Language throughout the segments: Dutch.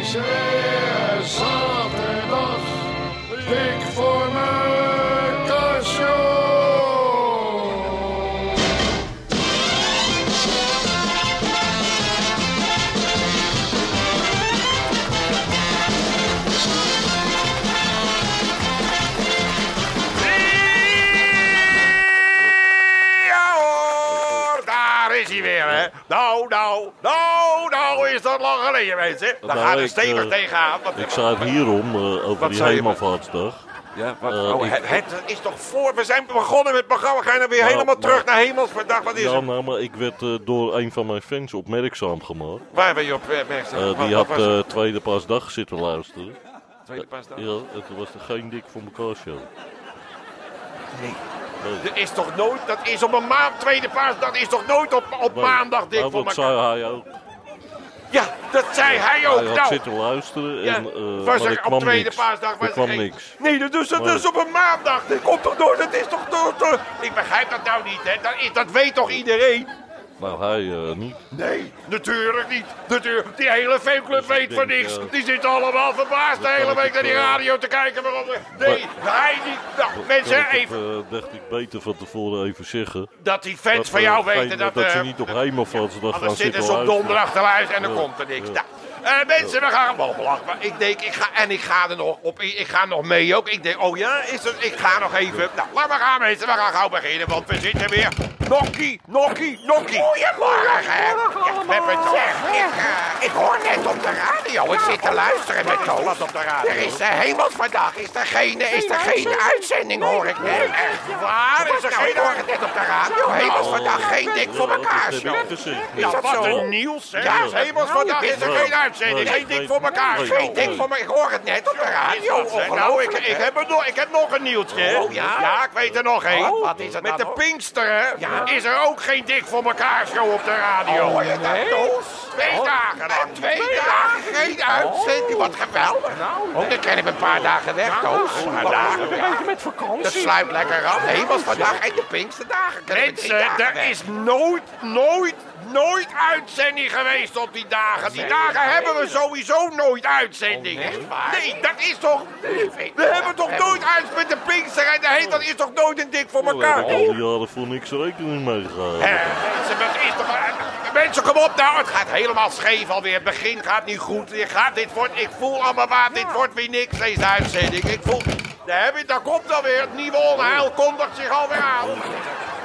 is weer zaterdag. Dik voor mijn kastje. Ja hoor, daar is hij weer, hè. Nou, nou, nou, nou is dat lang geleden, mensen. Daar Nou, gaat de ik, stevig eh, tegenaan. want- Ik zei het hierom eh, over Wat die zei je? hemelvaartsdag. Ja, wat, Eh, oh, ik- het, Het, het is toch voor, we zijn begonnen met het programma, we gaan dan weer Nou, helemaal nou. terug naar hemelsverdag. Wat is Ja, het? nou, maar ik werd eh, door een van mijn fans opmerkzaam gemaakt. Waar ben je op, eh, mensen? Eh, Wat- die wat had was eh, het? tweede pasdag zitten luisteren. Tweede paasdag? Ja, het was er geen dik voor elkaar show. Er is toch nooit, dat is op een maand, tweede paas, dat is toch nooit op, op Nee. maandag dik Maar voor nou, Wat elkaar? zei hij ook? Ja, dat zei hij ook. Hij had nou, zitten luisteren ja, en eh, was maar er er op kwam tweede niks. paasdag was Er kwam geen- niks. Nee, dat is, dat Nee. is op een maandag. Dat komt toch door, dat is toch door. door- Ik begrijp dat nou niet, hè. Dat, is, dat weet toch iedereen? Nou, hij eh, niet. Nee, natuurlijk niet. Natuurlijk, die hele fanclub Dus ik weet van denk, niks. eh, Die zitten allemaal verbaasd de dan hele kan week ik naar die het, eh, radio te kijken. Waarom, nee, hij niet. Nou, mensen, Ik even heb, eh, dacht ik beter van tevoren even zeggen. dat die fans van eh, jou geen- weten dat... dat ze eh, niet op hemelvaartsdag gaan Anders zitten zitten ze op luisteren. donderdag te luisteren en dan Ja, komt er niks. ja. Nou, eh, mensen, we gaan wel belachen. Maar ik denk, ik ga, en ik ga er nog op. Ik, ik ga nog mee ook. Ik denk, oh ja, is het, ik ga nog even. Nou, laat maar gaan mensen. We gaan gauw beginnen, want we zitten weer. Nokkie, nokkie, nokkie. Goedemorgen. hè. Ja, we hebben het toch. Ik, eh, ik hoor net op de radio. Ik zit te luisteren met Toos. Nou, Wat op de radio? Er is de hemels vandaag. Is er geen, is er geen uitzending, hoor ik net. Echt waar? Is er geen... nou? Ik hoor het net op de radio. Hemels vandaag geen dik voor elkaar, Oh, Dat zo. heb ik gezegd. Ja, dat wat zo? een nieuws, hè? Nou, Ja. Ja, hemels, vandaag is er Nee. geen uitzending. Nee. Geen dik voor elkaar. Nee. Geen dik voor me. Ik hoor het net op de radio. Nou, ik, ik, heb er nog, ik heb nog een nieuwtje. hè? Oh, ja? ik weet er nog één. wat is het Met dan de nog? Pinkster, hè? Is er ook geen dik voor elkaar show op de radio. Oh, hoor je dat, Toos? Twee Oh. dagen dan. Twee Twee dagen geen uitzending. Wat geweldig. Nou, dan ken ik een paar dagen weg, Toos. Een paar dagen weg. Even met Dat vakantie. sluit lekker aan. Hemels vandaag en de Pinksterdagen. Mensen, er is nooit, nooit, nooit uitzending geweest op die dagen. Die dagen hebben we sowieso nooit uitzending. Oh, echt waar? Nee, dat is toch... we hebben toch nooit uit met de Pinkster en de heet, dat is toch nooit een dik voor Daar elkaar. heb ik al die jaren voor niks rekening mee gehouden. Eh, Mensen, wat is toch- eh, mensen, kom op nou. Het gaat helemaal scheef alweer. Het begin gaat niet goed. Dit gaat, dit wordt, ik voel allemaal waar. Dit wordt weer niks, deze uitzending. Ik voel... Daar, heb je, daar komt alweer. Het nieuwe onheil kondigt zich alweer aan.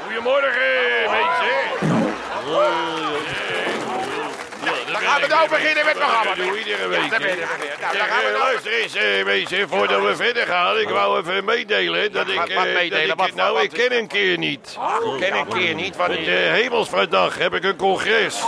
Goedemorgen, mensen. Dan gaan we nou beginnen met het programma. Dat doen we iedere week, Ja, daar ben je hè? er weer. Nou, dan gaan we Eh, nou... luister eens, eh, mensen, voordat we verder gaan, ik wou even meedelen dat ik... Wat- eh, wat dat meedelen? ik, Wat- nou, wat- ik ken een keer niet. Ik Ah. ken een keer niet Met wanneer... eh Hemelsvrijdag heb ik een congres. Dus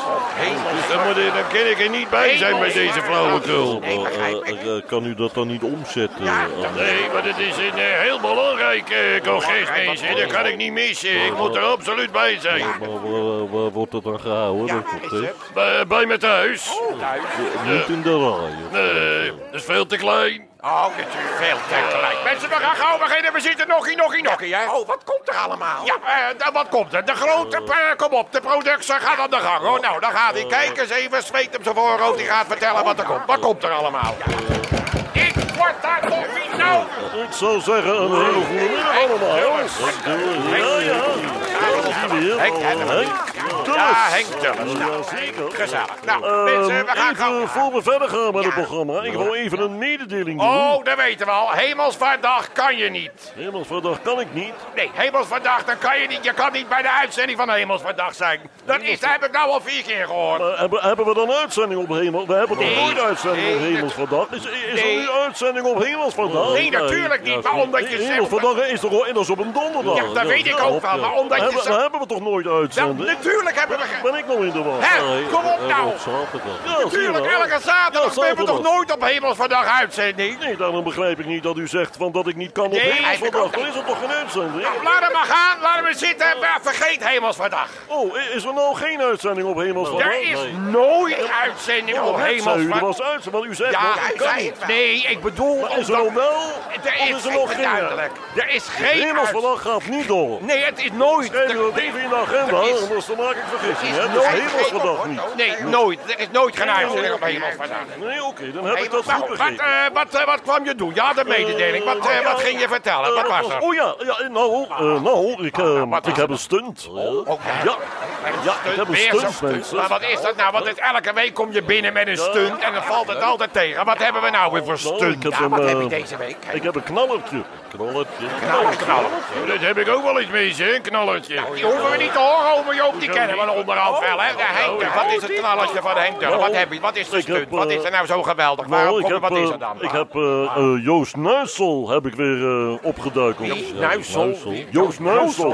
dan, moet, ik- dan kan ik er niet bij zijn bij deze flauwekul. Eh, eh, eh, kan u dat dan niet omzetten? eh, Nee, maar het is een eh, heel belangrijk eh, congres, mensen. Dat kan ik niet missen. Ik moet er absoluut bij zijn. Maar waar, waar wordt dat dan gehouden? dat congres? Bij, eh, bij me thuis. Niet in de rij. of- Nee, dat is veel te klein. Oh, natuurlijk. Veel te gelijk. Mensen, we gaan gauw beginnen. We zitten nog in, nog in, nog in, hè? Oh, wat komt er allemaal? Ja, eh, dan wat komt er? De grote... eh, kom op, de productie gaat aan de gang. Oh, nou, daar gaat hij. Kijk eens even, zweet hem zijn voorhoofd. Die gaat vertellen wat er komt. Wat komt er allemaal? Ik word daar toch niet nou... Ik zou zeggen, een hele goede middag allemaal. jongens. Dat doen we. Ja, ja. Dat is hier. Henk, Eh, Henk. Henk Dulles. Ja, Henk Dulles. Eh, Nou, jazeker. Gezellig. Nou, Ehm, mensen, we gaan gauw... even voor we verder gaan met het Ja. programma. Ik wil even een mededeling doen. Oh, dat weten we al. Hemelsvaartdag kan je niet. Hemelsvrijdag kan ik niet. Nee, Hemelsvaartdag, dan kan je niet. Je kan niet bij de uitzending van Hemelsvaartdag zijn. Dat is, dat heb ik nou al vier keer gehoord. Maar Eh, hebben, hebben we dan uitzending op hemel? We hebben Nee. toch nooit uitzending op Nee, hemelsvandaag? Is, is nee. er nu uitzending op hemelsvandaag? Nee, natuurlijk niet, maar omdat je He- zegt- Hemelsvandaag is toch wel anders op een donderdag? Ja, dat weet ik ook wel, maar omdat je hebben, zegt- Dan hebben we toch nooit Nou, uitzending? natuurlijk hebben we... ge- ben ik nog in de war. Hè, kom op nou. Ja, Natuurlijk, zie je wel. elke zaterdag. Ja, we hebben toch zaterdag. nooit op Hemelsvandag uitzending? Nee, daarom begrijp ik niet dat u zegt van dat ik niet kan op Nee, eigenlijk ook hemelsvandaag. Dan is er toch geen uitzending? Nou, laat hem maar gaan, laat hem maar zitten. Ja, Vergeet Hemelsvandag. Oh, i- is er nou geen uitzending op hemelsvandaag? Er is nooit uitzending op Oh, net zei u, er Hemelsvandag. was uitzending, want u zegt Ja, dat hij kan zei niet. het wel. Nee, ik bedoel... Maar is er omdat- nog wel? Er of is, is er nog geen? duidelijk. Er is geen... Hemels uit- gaat niet door. Nee, het is nooit. Schreeuwen Er- op er- even in de agenda, Er is- anders dan maak ik is vergissing. hè. Dat nooit is geen hemelsgedag niet. Nee, nooit. Er is nooit geen uitzending op nee, hemelsfasade. Nee, oké, dan heb Hey, ik dat maar goed goed, wat, begrepen. eh, wat, eh, wat kwam je doen? Je had een mededeling. Wat, eh, Eh, wat ja, ging je vertellen? eh, Wat was er? Oh ja, ja nou, eh, nou ik, eh, wat was ik heb een stunt. Oh, eh. oké. ja. ja, ik heb een Weer zo'n stunt, stunt. mensen. Maar wat is dat nou? Want het- elke week kom je binnen met een stunt en dan valt het altijd tegen. Wat hebben we nou weer voor Nou, stunt? ik heb Ja, een, wat heb eh, je deze week? Ik heb een knallertje. Knallertje. Nou, knallen. Dat heb ik ook wel eens mee, zeg, een knalletje. Die hoeven we niet te horen, over Joop. Die kennen we onderhand wel, Oh, hè? De Henk, wat is het knalletje van Henk Dullen? Wat heb je? Wat is de Nou, Ik heb, stunt? Wat is er nou zo geweldig? Nou, Waarom ik komt heb, er- wat is eh, er dan? ik heb eh, eh, Joost Nuisel heb ik weer eh, opgeduikeld. Wie? Ja, Nuisel? Joost Nuisel.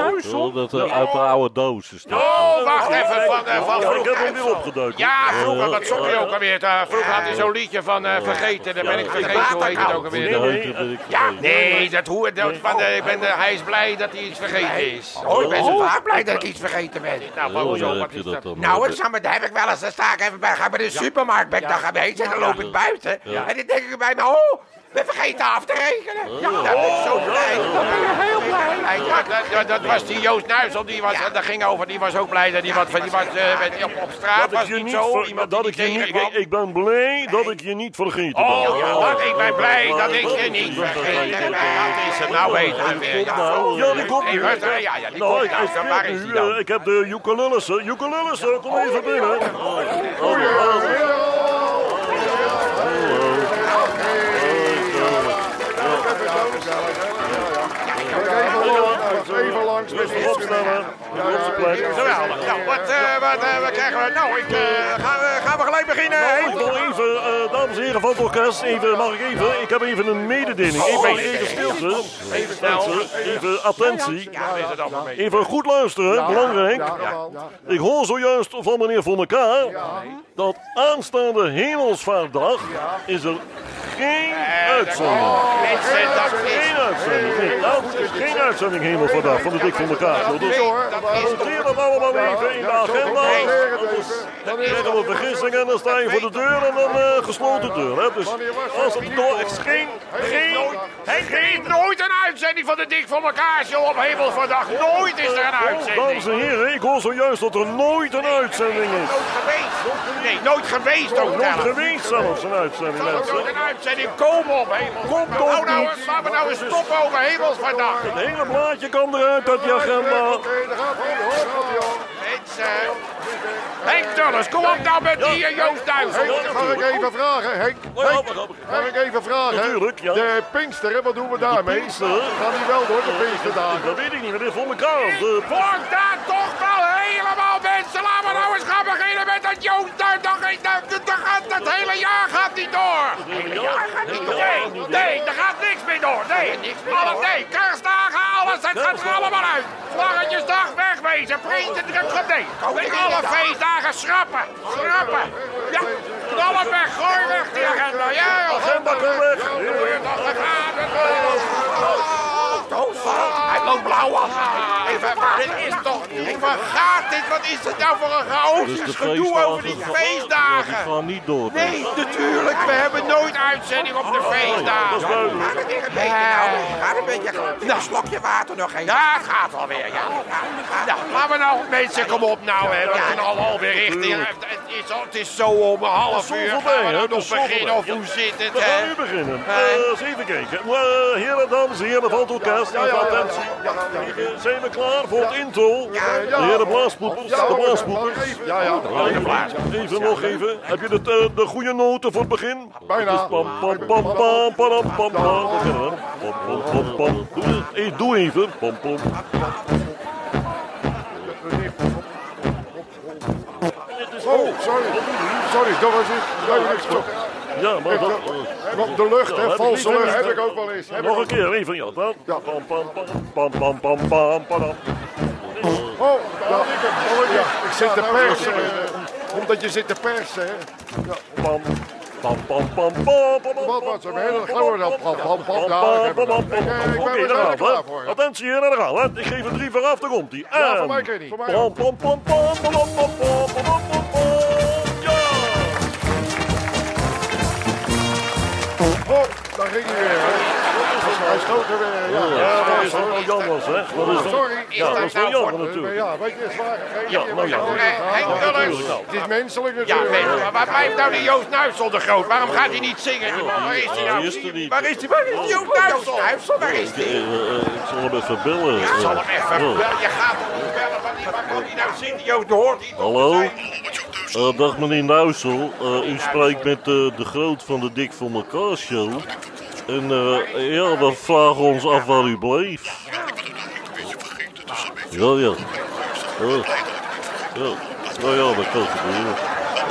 Ja, Dat eh, uit de oude doos is dat. Oh, wacht even, van, eh, van Ja, ik vroeger. heb hem weer opgeduikeld. Ja, vroeger, Eh, wat zong hij ook alweer? Eh, Vroeger had hij zo'n liedje van eh, vergeten, daar ben ik vergeten, hoe heet het ook Nee, alweer? nee, Nee, eh, Ja, nee, dat hoe, dat, van, eh, ik ben, eh, hij is blij dat hij iets vergeten is. Oh, ik ben zo vaak blij dat ik iets vergeten ben. Nou, Oh, hoezo, ja, wat heb je is dat dat? dan? Nou, ik zou maar, daar heb ik wel eens, dan sta ik even bij, ga bij de supermarkt, ben ik dan geweest en dan loop ik buiten. En dan denk ik bij me, oh, we vergeten af te rekenen. Ja, dan ben ik zo Oh. blij. Dan ben ik heel blij. Ja, dat, dat, dat was die Joost Nuisel, die was, dat ging over, die was ook blij dat hij wat van, die was eh, met- op, op straat, Dat was ik je niet niet zo, ver- iemand dat die ik je niet, tegenkwam. ik, ik ben blij dat ik je niet vergeten ben. Oh, ja, wat, ik ben blij dat ik je niet vergeten ben. Dat is het nou weten. Komt nou. Ja, die komt Hey, nu. luister, ja, ja, die Nou, komt ik, nou. ik Dan, Waar speel is die nu. dan? eh, Ik heb de ukulelesse. Ukulelesse, eh, kom even binnen. Oh, oh, Even langs met oh. Opstellen. Op zijn plek. Geweldig. Nou, wat, eh, wat, eh, wat krijgen we? Nou, ik, eh, gaan, we, gaan we gelijk beginnen? Nou, ik wil even, eh, dames en heren van het orkest, even, mag ik even? Ik heb even een mededeling. Even, even stilte. Even stilte. Even attentie. Ja, is het allemaal mee. Even goed luisteren, belangrijk. Ik hoor zojuist van meneer Von der K. dat aanstaande Hemelsvaartdag is er geen uitzending. Mensen, dat is... Geen uitzending, nee. Nou, geen uitzending Hemelsvaartdag van de Dik Van der K. Dus Dat is noteer dat allemaal even in de agenda. Anders krijgen we vergissing en dan sta je voor de deur en dan eh, gesloten deur. Hè. Dus als het door is geen, geen, Hey, er is nooit een uitzending van de Dik voor elkaar show op Hemel vandaag. Nooit is Oh, er een uitzending. Dames en heren, ik hoor zojuist dat er nooit een uitzending is. Nooit geweest. Nee, nooit geweest ook Nog wel. geweest zelfs een uitzending, Nooit mensen. een uitzending. Kom op, Hemel. Kom toch Nou, nou, niet. laten we nou eens stoppen over Hemels vandaag. Het hele plaatje kan eruit uit die agenda. Mensen. Henk Dulles, kom op nou met die eh, Joost Duivel. Mag ik even vragen, Henk? ja, Henk, maar grappig. mag ik even vragen? Natuurlijk, ja. De Pinksteren, wat doen we daarmee? Pinksteren? Gaan die wel door, de Pinksterdagen? Dat weet ik niet, meneer Von der Kamer. De Wordt daar toch wel helemaal mensen. Laten we nou eens gaan beginnen met dat Joodstuin. Dat, dat, dat, dat, gaat- dat hele jaar gaat niet door. Het hele jaar gaat niet door. Nee, nee, er gaat niks meer door. Nee, alle, nee kerstdagen, alles, het gaat er allemaal uit. Vlaggetjesdag wegwezen, vriendendruk, nee. Nee, alle feestdagen schrappen, schrappen. Ja, knal het weg, gooi weg die agenda. Ja, agenda komt weg. Doe je toch het aan. Oh, Hij loopt blauw af. Even, maar Ah, dit is toch niet. Waar gaat dit? Wat is het nou voor een chaotisch Dus de gedoe over die feestdagen- Die feestdagen? gaan niet door. Nee, natuurlijk. We hebben nooit uitzending op de dat is feestdagen. duidelijk. Ga er weer een beetje nou, ga een beetje een slokje water nog even. Daar Nou. gaat alweer, ja. Nou, laten we nou, mensen, kom op nou. Hè. We kunnen al alweer richting. Het is, al- het is zo om een half Zon uur. voorbij, Gaan we hè? nou Dat nog is zon beginnen of voorbij. hoe zit het? We gaan Hè? nu beginnen. Eh, eens even kijken. Eh heren, dames en heren van het orkest, even attentie. Eh, Zijn we klaar voor het intro? De heren blaaspoepers, de blaaspoepers. Ja, ja. Even, even nog even. Heb je de, eh, de goede noten voor het begin? Bijna. Dus pam, pam, pam, pam, pam, pam, pam. Dat kennen we. Pam, pam, pam, pam. Doe, het. Eh, doe even. Pam, pam. Oh, sorry. Sorry, dat was het. Ja, maar dat... Kom, De lucht, heb hè, ik valse niet lucht. gezien. Heb ik ook wel eens. Heb ik Nog ook- een keer, even. Ja, dan. Ja. Pam, pam, pam, pam, pam, pam, pam, pam. Oh, ja. Oh, ja. Ik zit te nou, persen. eh, Omdat je zit te persen, hè. Pam, pam, pam, pam, pam, pam, pam, Wat was er? pam, We hebben- pam, gaan we dan? Pam, pam, pam, daar hebben we pam, dat. pam, Ik, eh, ik pam. ben Oké, er daar gaan klaar we. voor, ja. Attentie, hier, daar gaan we. Ik geef er drie vooraf, daar komt hij. Ja, voor mij kan je niet. Voor mij Pam, pam, pam, pam, pam, pam, pam, pam, pam, pam, pam, pam. Ja! Oh, daar ging hij weer. Hè. Dat is een hij stoot er weer in. Ja, Ja, dat sorry, is toch wel jammer, zeg. Dat is toch... Sorry. Ja, dat is wel jammer Maar natuurlijk. Ja, weet je, zwaar gegeven. Ja, nou ja. Sorry, Eh, Henk ja, Willers. natuurlijk. Nou. Het is menselijk Ja, natuurlijk. nee, maar waar blijft nou die Joost Nuitsel de groot? Waarom gaat hij niet zingen? Die man, waar is hij Die nou? is er niet. Waar is hij? Waar is die Joost Nuitsel? Duifsel, waar is die? Eh, eh, eh, Ik zal hem even bellen. Ik zal hem eh. even Oh. bellen. Je gaat hem niet bellen van die. Waar kan hij nou zitten? Joost, er hoort hij toch Hallo? te zijn? Eh, dag meneer Nuisel, Eh, u spreekt met eh, de groot van de Dik voor elkaar show. En eh, ja, we vragen ons af waar u bleef. Ja, ja. Ja, ja. Nou ja, dat kan gebeuren.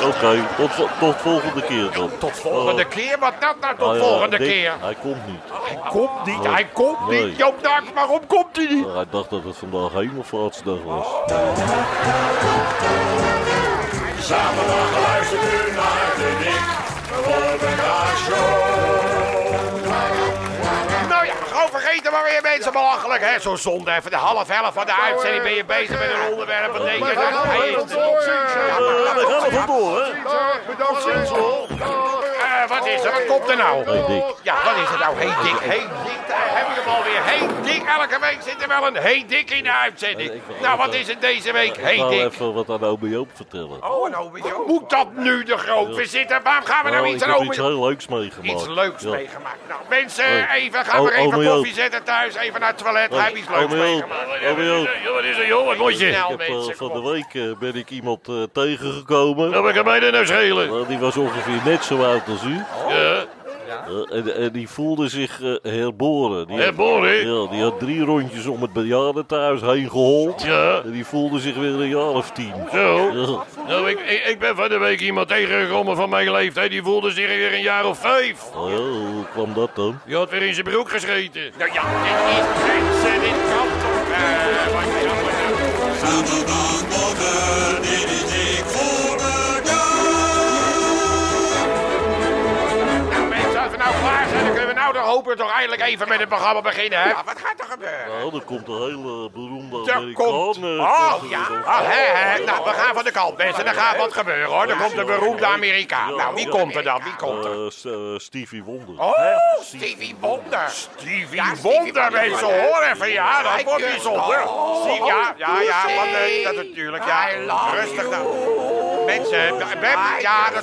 Oké, tot, vo- tot volgende keer dan. Tot volgende keer? Wat dat nou tot Ah, ja, volgende Dick, keer? Oh. Hij komt niet. Hij komt niet, hij komt Nee. niet. Joop Dak, waarom komt hij niet? Maar hij dacht dat het vandaag hemelvaartsdag was. Eh, Nou ja, gewoon vergeten maar weer mensen belachelijk. hè. Zo'n zonde even de half helft van de uitzending ben je bezig met een onderwerp. Wat denk je eh, Maar dat gaan we hij even is? door. Eh, we gaan er vandoor, hè? Dag, bedankt. Zinsel. Eh, Wat is er? Wat komt er nou? Hey, Dick. Ja, wat is het nou? Hey Dick, hey Dick, daar hebben we hem alweer. Hey Dick, elke week zit er wel een Hey Dick in de uitzending. Eh, ik wil Nou, wat even- is het deze week? Ik Hey wou Dick. even wat aan oom Joop vertellen. Oh, nou, moet dat nu de groot? We zitten, waarom gaan we nou Nou, iets ik heb over... iets heel leuks meegemaakt. Iets leuks Ja. meegemaakt. Nou, mensen, Hey. even, gaan Oh, we even ome Joop. koffie zetten thuis. Even naar het toilet. Hij Hey, heeft iets leuks ome Joop, meegemaakt. ome Joop. Ja, wat is er, joh? Wat moet je? Snel, Ik heb, eh, Nou, mensen, van kom. de week eh, ben ik iemand eh, tegengekomen. Nou, wat kan mij dat nou schelen? Eh, die was ongeveer net zo oud als u. Ja, Eh, en, en die voelde zich eh, herboren. Die hè, Boris? ja, die had drie rondjes om het bejaardentehuis heen gehold. Ja, En die voelde zich weer een jaar of tien. zo. Ja, Nou, ik, ik, ik ben van de week iemand tegengekomen van mijn leeftijd. Die voelde zich weer een jaar of vijf. Oh ja, hoe kwam dat dan? Die had weer in zijn broek gescheten. Nou ja, dit is mensen, dit kan toch. Eh, wat is dat? Nou, mensen, als we nou klaar zijn, dan kunnen we nou de hopen toch eindelijk even met het programma beginnen, hè? Wat gaat er gebeuren? Nou, er komt een hele beroemde Er komt... Amerikaan. Oh, eh, tegen- ja. Ah, hè, hè. Nou, we gaan van de kant, mensen. Er gaat wat gebeuren, hoor. Er komt een beroemde Amerikaan. Nou, wie komt er dan? Wie komt er? Eh, S- eh, Stevie Wonder. Oh, Stevie Wonder. Stevie Wonder, mensen. Hoor even, ja. Dat wordt bijzonder. Stevie, ja, ja, ja. Want, eh, dat natuurlijk, ja. Rustig nou. Mensen, Beb, ja, dat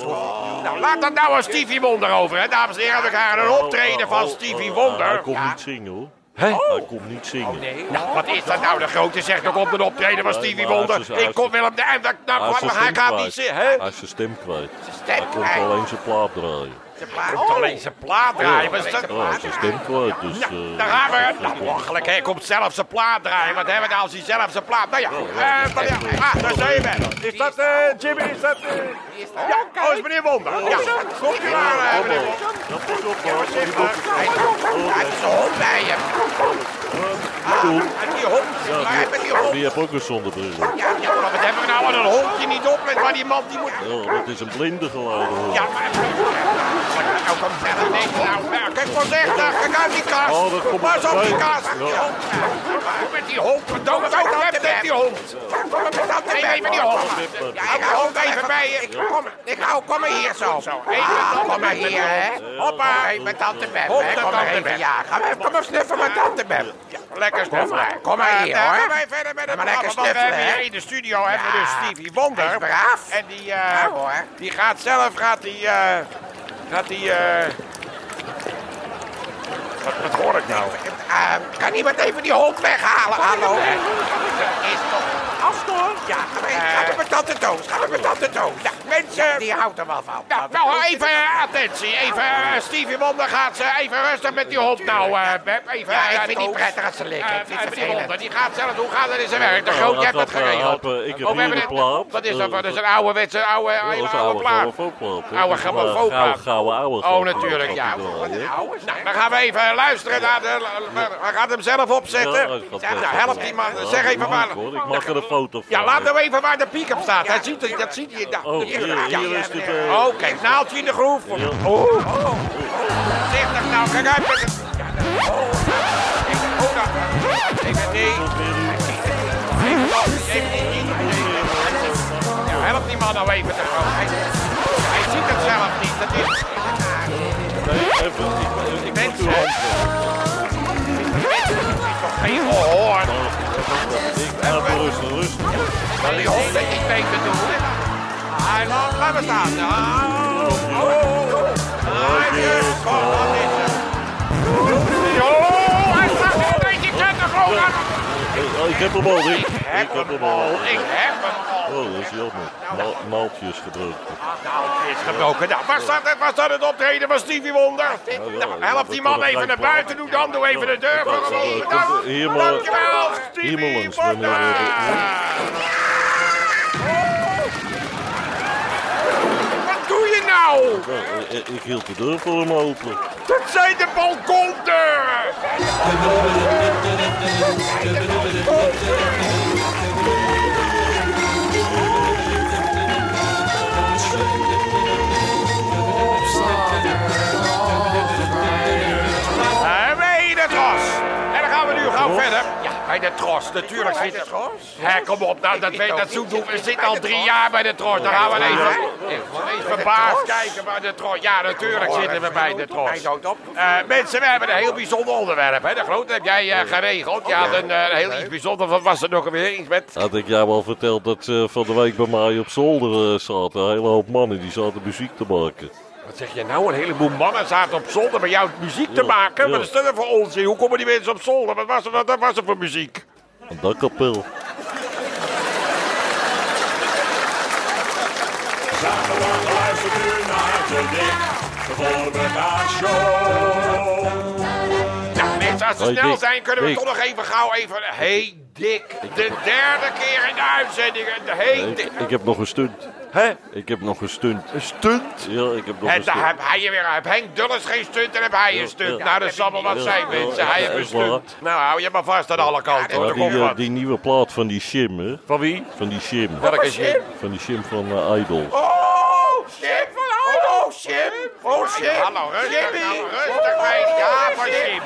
Nou, laat dat nou aan Stevie Wonder over, hè. Dames en heren, we gaan een Oh, optreden van Stevie Hij Wonder. komt Ja. niet zingen hoor. Hij komt niet zingen. Nou, wat is dat nou? De grote zegt, er komt een optreden van Nee, Stevie maar Wonder. hij is- dus- hij Ik is- kom Willem de... En dat, Hij nou, is zijn hij stem gaat niet kwijt. zingen, hè? Hij is zijn stem kwijt. stem Hij komt kwijt. alleen zijn plaat draaien. Hij komt alleen zijn plaat draaien. maar ze- Oh. Ja, hij is zijn stem kwijt. Dus, Nou, eh, daar gaan we. Nou, belachelijk, hè. Hij komt zelf zijn plaat draaien. Wat hebben we nou als hij zelf zijn plaat... Nou ja, Oh, eh, maar ja, ah, daar zijn we. Is dat, eh, Jimmy, is dat... eh, Ja, oh, is meneer Wonder. Ja, komt u maar, eh, meneer Oh, Wonder. Hij is een hond bij hem. En die hond, Maar hij ja, eh, met die die, hond. die heeft ook een zonnebril. ja, ja, maar wat hebben we nou aan een hondje niet oplet, maar die man die moet... Ja, dat is een blinde geladen hoor. Ja, maar... Nou, kom verder, nee, nou, nou, kijk voorzichtig, kijk uit die kast. Oh, dat komt Pas op die erbij. kast. Ja. Hoe met die hond? Verdomme, zo heb met die hond. Neem even die hond. Ja, ik hou hem even bij je. Kom, Ik hou, kom maar hier zo. Ah, zo, even Kom dan maar met hier, hier. hè. Hoppa. Hey, met tante Beb, Hop, hè. met Kom maar tante even Beb. jagen. Kom maar- Kom maar snuffen met tante Beb. Lekker snuffelen. Kom maar hier, hoor. Gaan wij verder met het Maar lekker programma, want we hebben snuffelen, hè. hier in de studio hebben we dus Ja. Stevie Wonder. Hij is braaf. En die, eh, Ja, hoor. die gaat zelf, gaat die, eh, gaat die, eh, wat, wat hoor ik nou? Eh, Kan iemand even die hond weghalen? Hallo? Is toch... Afstoor? Ja, ga maar- ga maar met tante Toos. Ga maar met tante Toos. Nou, mensen. Die houdt er wel van. Nou, nou, even eh, attentie. Even, eh, Stevie Wonder gaat ze even rustig met die hond nou, eh Beb. Even, Ja, eh, ik vind het niet Toos. prettig als ze likken. Eh, Ik vind het eh, meneer vervelend. Wonder, die gaat zelf, hoe gaat dat in zijn werk? De groot, dat jij hebt dat gaat, eh, geregeld. Hap, eh, ik heb Oh, we hier hebben het- een plaat. Wat is dat? Eh, Wat is een ouderwetse, oude, Ja, hele dat is oude oude plaat? gamofoonplaat. hè. Oude Dat is een gamofoonplaat. Gouden, gouden, oude Oh, gamofoonplaat. natuurlijk, ja. Dat is wel, hè. Nou, dan gaan we even luisteren naar de... Hij gaat hem zelf opzetten. Ja, dat gaat nou, best. help die man. Ja, Zeg even leuk, waar... hoor. Ik mag er een foto van. Ja, laat nou even waar de piek op staat. Hij ziet het, dat ziet hij. daar. Oh, hier, Ja, hier is het... eh, Oh, kijk, naaldje in de groef. Oh, oh. Zeg dat nou, kijk uit met het... Ja, dat- Oh, Ik- oh, dat- Ik- Nee. Ja, help die man nou even. te gaan. Hij, hij ziet het zelf niet. Dat is... nee, even, ik- ik- ik moet uw hand. Mensen, die hond het niet mee bedoelen. Hij laat, laat maar staan. Oh, oh, oh. Hij is gewoon, dat is het. Oh, hij staat weer een beetje kutten gewoon aan. Eh, Ik heb hem al, Dick. Ik Ik heb hem al, al. ik heb hem al. Oh, dat is jammer. Ma- Maaltjes gebroken. Nou, het is gebroken. Nou, was, dat, het- was dat het optreden van Stevie Wonder? Nou, help die man even naar buiten. Doe dan, doe even de deur voor hem open. Nou, Hier maar- dankjewel, hier maar Stevie langs, meneer Wonder. Wat doe je nou? Nou, eh, eh, Ik hield de deur voor hem open. Dat zijn de balkondeuren! En Bij de tros! En dan gaan we nu gauw verder. Ja, bij de tros, natuurlijk zit de tros. Hé, kom op, nou, dat, weet, dat zoekdoek zit al drie jaar bij de tros. Dan gaan we even, even verbaasd kijken bij de tros. Ja, natuurlijk zitten we bij de tros. Eh, mensen, we hebben een heel bijzonder onderwerp, hè? De grote heb jij eh, geregeld. Je had een eh, heel iets bijzonders. Wat was er nog weer? Iets met... Had ik jou al verteld dat ze van de week bij mij op zolder eh, zaten. Een hele hoop mannen die zaten muziek te maken. Wat zeg je nou? Een heleboel mannen zaten op zolder bij jou muziek te Ja, maken. ja. Wat is dat nou voor onzin? Hoe komen die mensen op zolder? Wat was er, wat was er voor muziek? Een dakkapel. Nou, mensen, als ze Hey, snel Dick, zijn, kunnen we Dick. toch nog even gauw even... Hey, Dick. De derde keer in de uitzending. Hey, Ik, Dick. ik heb nog een stunt. Hè? Ik heb nog een stunt. Een stunt? Ja, ik heb nog En een dan stunt. heb hij weer, heb Henk Dulles geen stunt en heb hij een stunt. ja. Nou, dat zal wel wat Ja, zijn, ja, mensen. Hij ja, heeft een echt waar. stunt. Nou, hou je maar vast aan alle kanten. Maar hoor. Er die, komt eh, wat. die nieuwe plaat van die Shim, hè? Van wie? Van die Shim. Welke zin? Van die Shim van eh, Idol. Oh, Jim Jim van Hallo, Jim. Oh, Jim. Hallo, rustig, nou, rustig, meid. Ja, van Jim.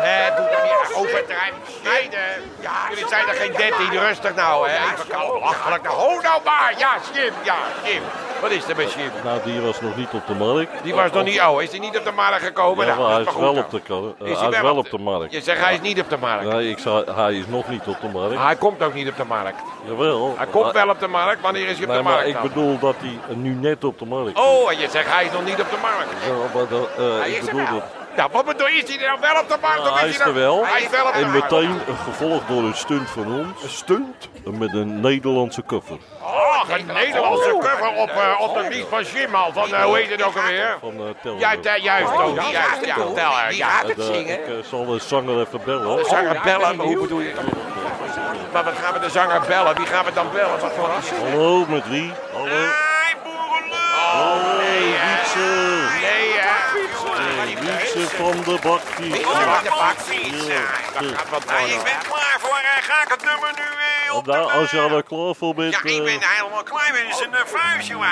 Eh, doe dan niet overdrijven. Meiden, ja, jullie zijn er geen 13, rustig nou, hè. Even kalm, lachelijk. Nou, Ho nou maar. Ja, Jim, ja, Jim. Wat is er met Jim? Nou, die was nog niet op de markt. Die was nog niet, oh, is hij niet op de markt gekomen? Ja, Nou, maar hij dat is maar goed wel dan. op de, ko- eh, Is hij is wel op de markt. Je zegt hij is niet op de markt. Nee, ik zei, hij is nog niet op de markt. Hij komt ook niet op de markt. Jawel. Ah, Hij komt wel op de markt. Wanneer is hij op Nee, de maar markt? ik dan? bedoel dat hij nu net op de markt Oh, en je zegt hij is nog niet op de markt. Ja, maar dat, eh, Hij ik is er bedoel wel. dat. Nou, wat bedoel je? Is hij er nou wel op de markt? Nou, of hij is is hij er wel. Hij is wel op de En markt. meteen gevolgd door een stunt van ons. Stunt? Met een Nederlandse cover. Oh, een Nederlandse cover op, eh, op de lied van Jim al. Van, eh, hoe heet het ook alweer? Van eh Tel. Juist, eh, juist, Toon. die gaat Juist, het ja, doen. vertel haar. Die Ja, gaat het zingen. Ik eh, zal de zanger even bellen. zanger bellen, maar hoe bedoel je? Maar wat gaan we de zanger bellen? Wie gaan we dan bellen? Wat voor ras? Hallo, met wie? Hallo. Hey, boerenlul! Oh, Hallo, nee, hè. Wietse. Nee, hè? Eh, Wietse van de Bakkie. Ja, de bak Ja, Dat ja. gaat wat worden. Ik ben klaar voor. eh, Ga ik het nummer nu eh, op? Nou, als jij er klaar voor bent. Ja, ik eh, ben helemaal klaar. Dit is een eh, vuist, jongen.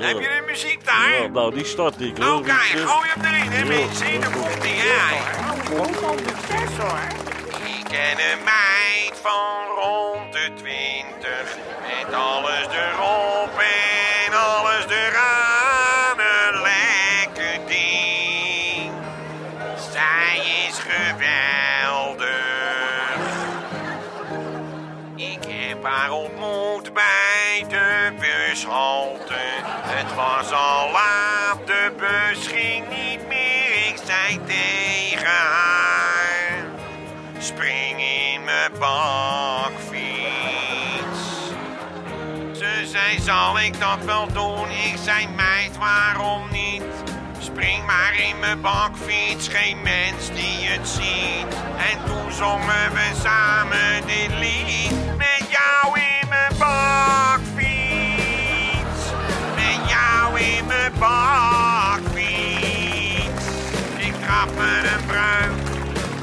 eh, Heb je de muziek daar? ja, nou, die start ik. hè, Oké, Wietse. gooi hem erin, hè, mensen. Dan komt hij aan. Ik ken een meid van rond de twintig. Met alles erop en alles eraan. Een lekker ding. Zij is geweldig. Ik heb haar ontmoet bij de bushalte. Het was al laat, de bus ging niet meer. Ik zei tegen haar: Spring in mijn bakfiets. Ze zei: Zal ik dat wel doen? Ik zei: Meid, waarom niet? Spring maar in mijn bakfiets, geen mens die het ziet. En toen zongen we samen dit lied. Met jou in mijn bakfiets. Met jou in mijn bakfiets. Ik trap me een bruik,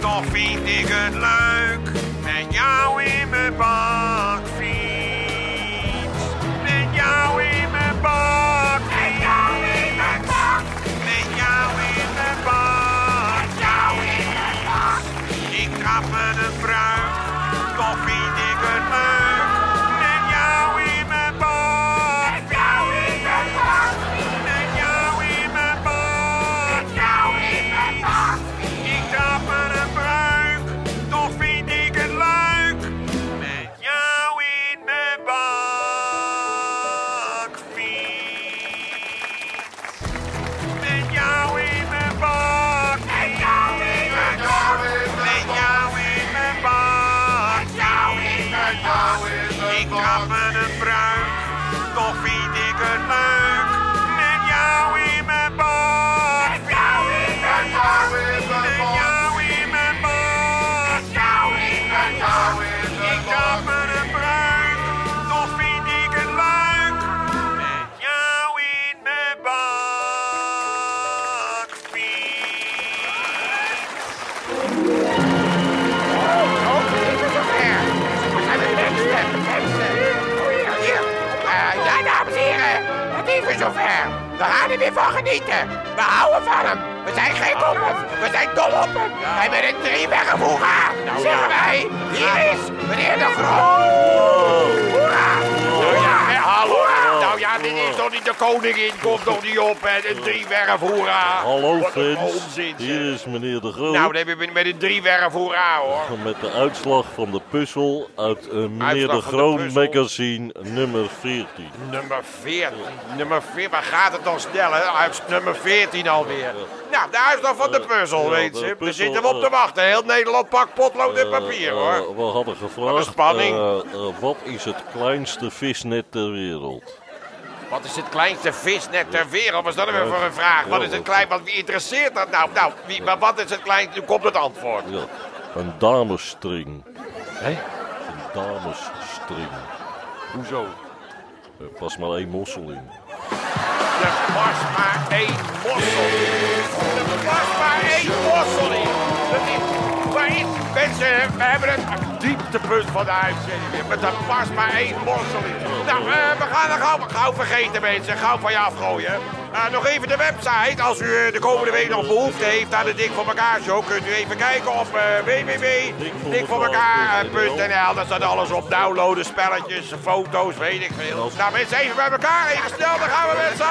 toch vind ik het leuk. Met jou in mijn bakfiets. Met jou in mijn bak. Met jou in mijn bak. Met jou in mijn bak. Met jou in mijn bak. Ik trap me een bruin. Toch vind ik het leuk. Met jou in mijn bak. Met jou in mijn bak. Met jou zover. We gaan er weer van genieten. We houden van hem. We zijn geen op hem. We zijn dol op hem. En met een driewerf hoera, zeggen wij. Hier is meneer de Groot. Oh. Hoera. Hoera. Nou, Ja, hallo. Hoera. Nou ja, dit is toch niet de koningin, komt toch niet op met een driewerf hoera. Hallo Wat een Frits, onzin, zeg. hier is meneer De Groot. Nou, dan heb je met een driewerf hoera hoor. Met de uitslag van de puzzel uit eh, meneer Uitslag De van de Groot puzzel. magazine nummer 14. Nummer 14. Nummer 14. Waar gaat het dan snel, hè? Uit nummer 14 alweer. Nou, de uitslag van de puzzel, ja, weet de je. Daar puzzel, zitten we op te eh, wachten. Heel Nederland pakt potlood en Eh, papier, eh, hoor. we hadden gevraagd, spanning. eh, eh, wat is het kleinste visnet ter wereld? Wat is het kleinste visnet ter wereld? Was dat Eh, weer voor een vraag? Wat is het klein? Wat, wie interesseert dat nou? Nou, wie, maar wat is het kleinste? Nu komt het antwoord. Ja, een damesstring. Een damesstring. Hoezo? Er past maar één mossel in. Er was maar één mossel. Er was maar één mossel in. Dat is, waar is, mensen, we hebben het dieptepunt van de uitzending weer. Maar er was maar één mossel in. Nou, eh, we gaan er gauw, gauw vergeten, mensen. Gauw van je afgooien. Eh, nog even de website. Als u eh, de komende week nog behoefte heeft aan de Dik voor elkaar show, kunt u even kijken op eh www.dikvoormekaar.nl. Daar staat alles op. Downloaden, spelletjes, foto's, weet ik veel. Nou, mensen, even bij elkaar. Even snel, dan gaan we mensen.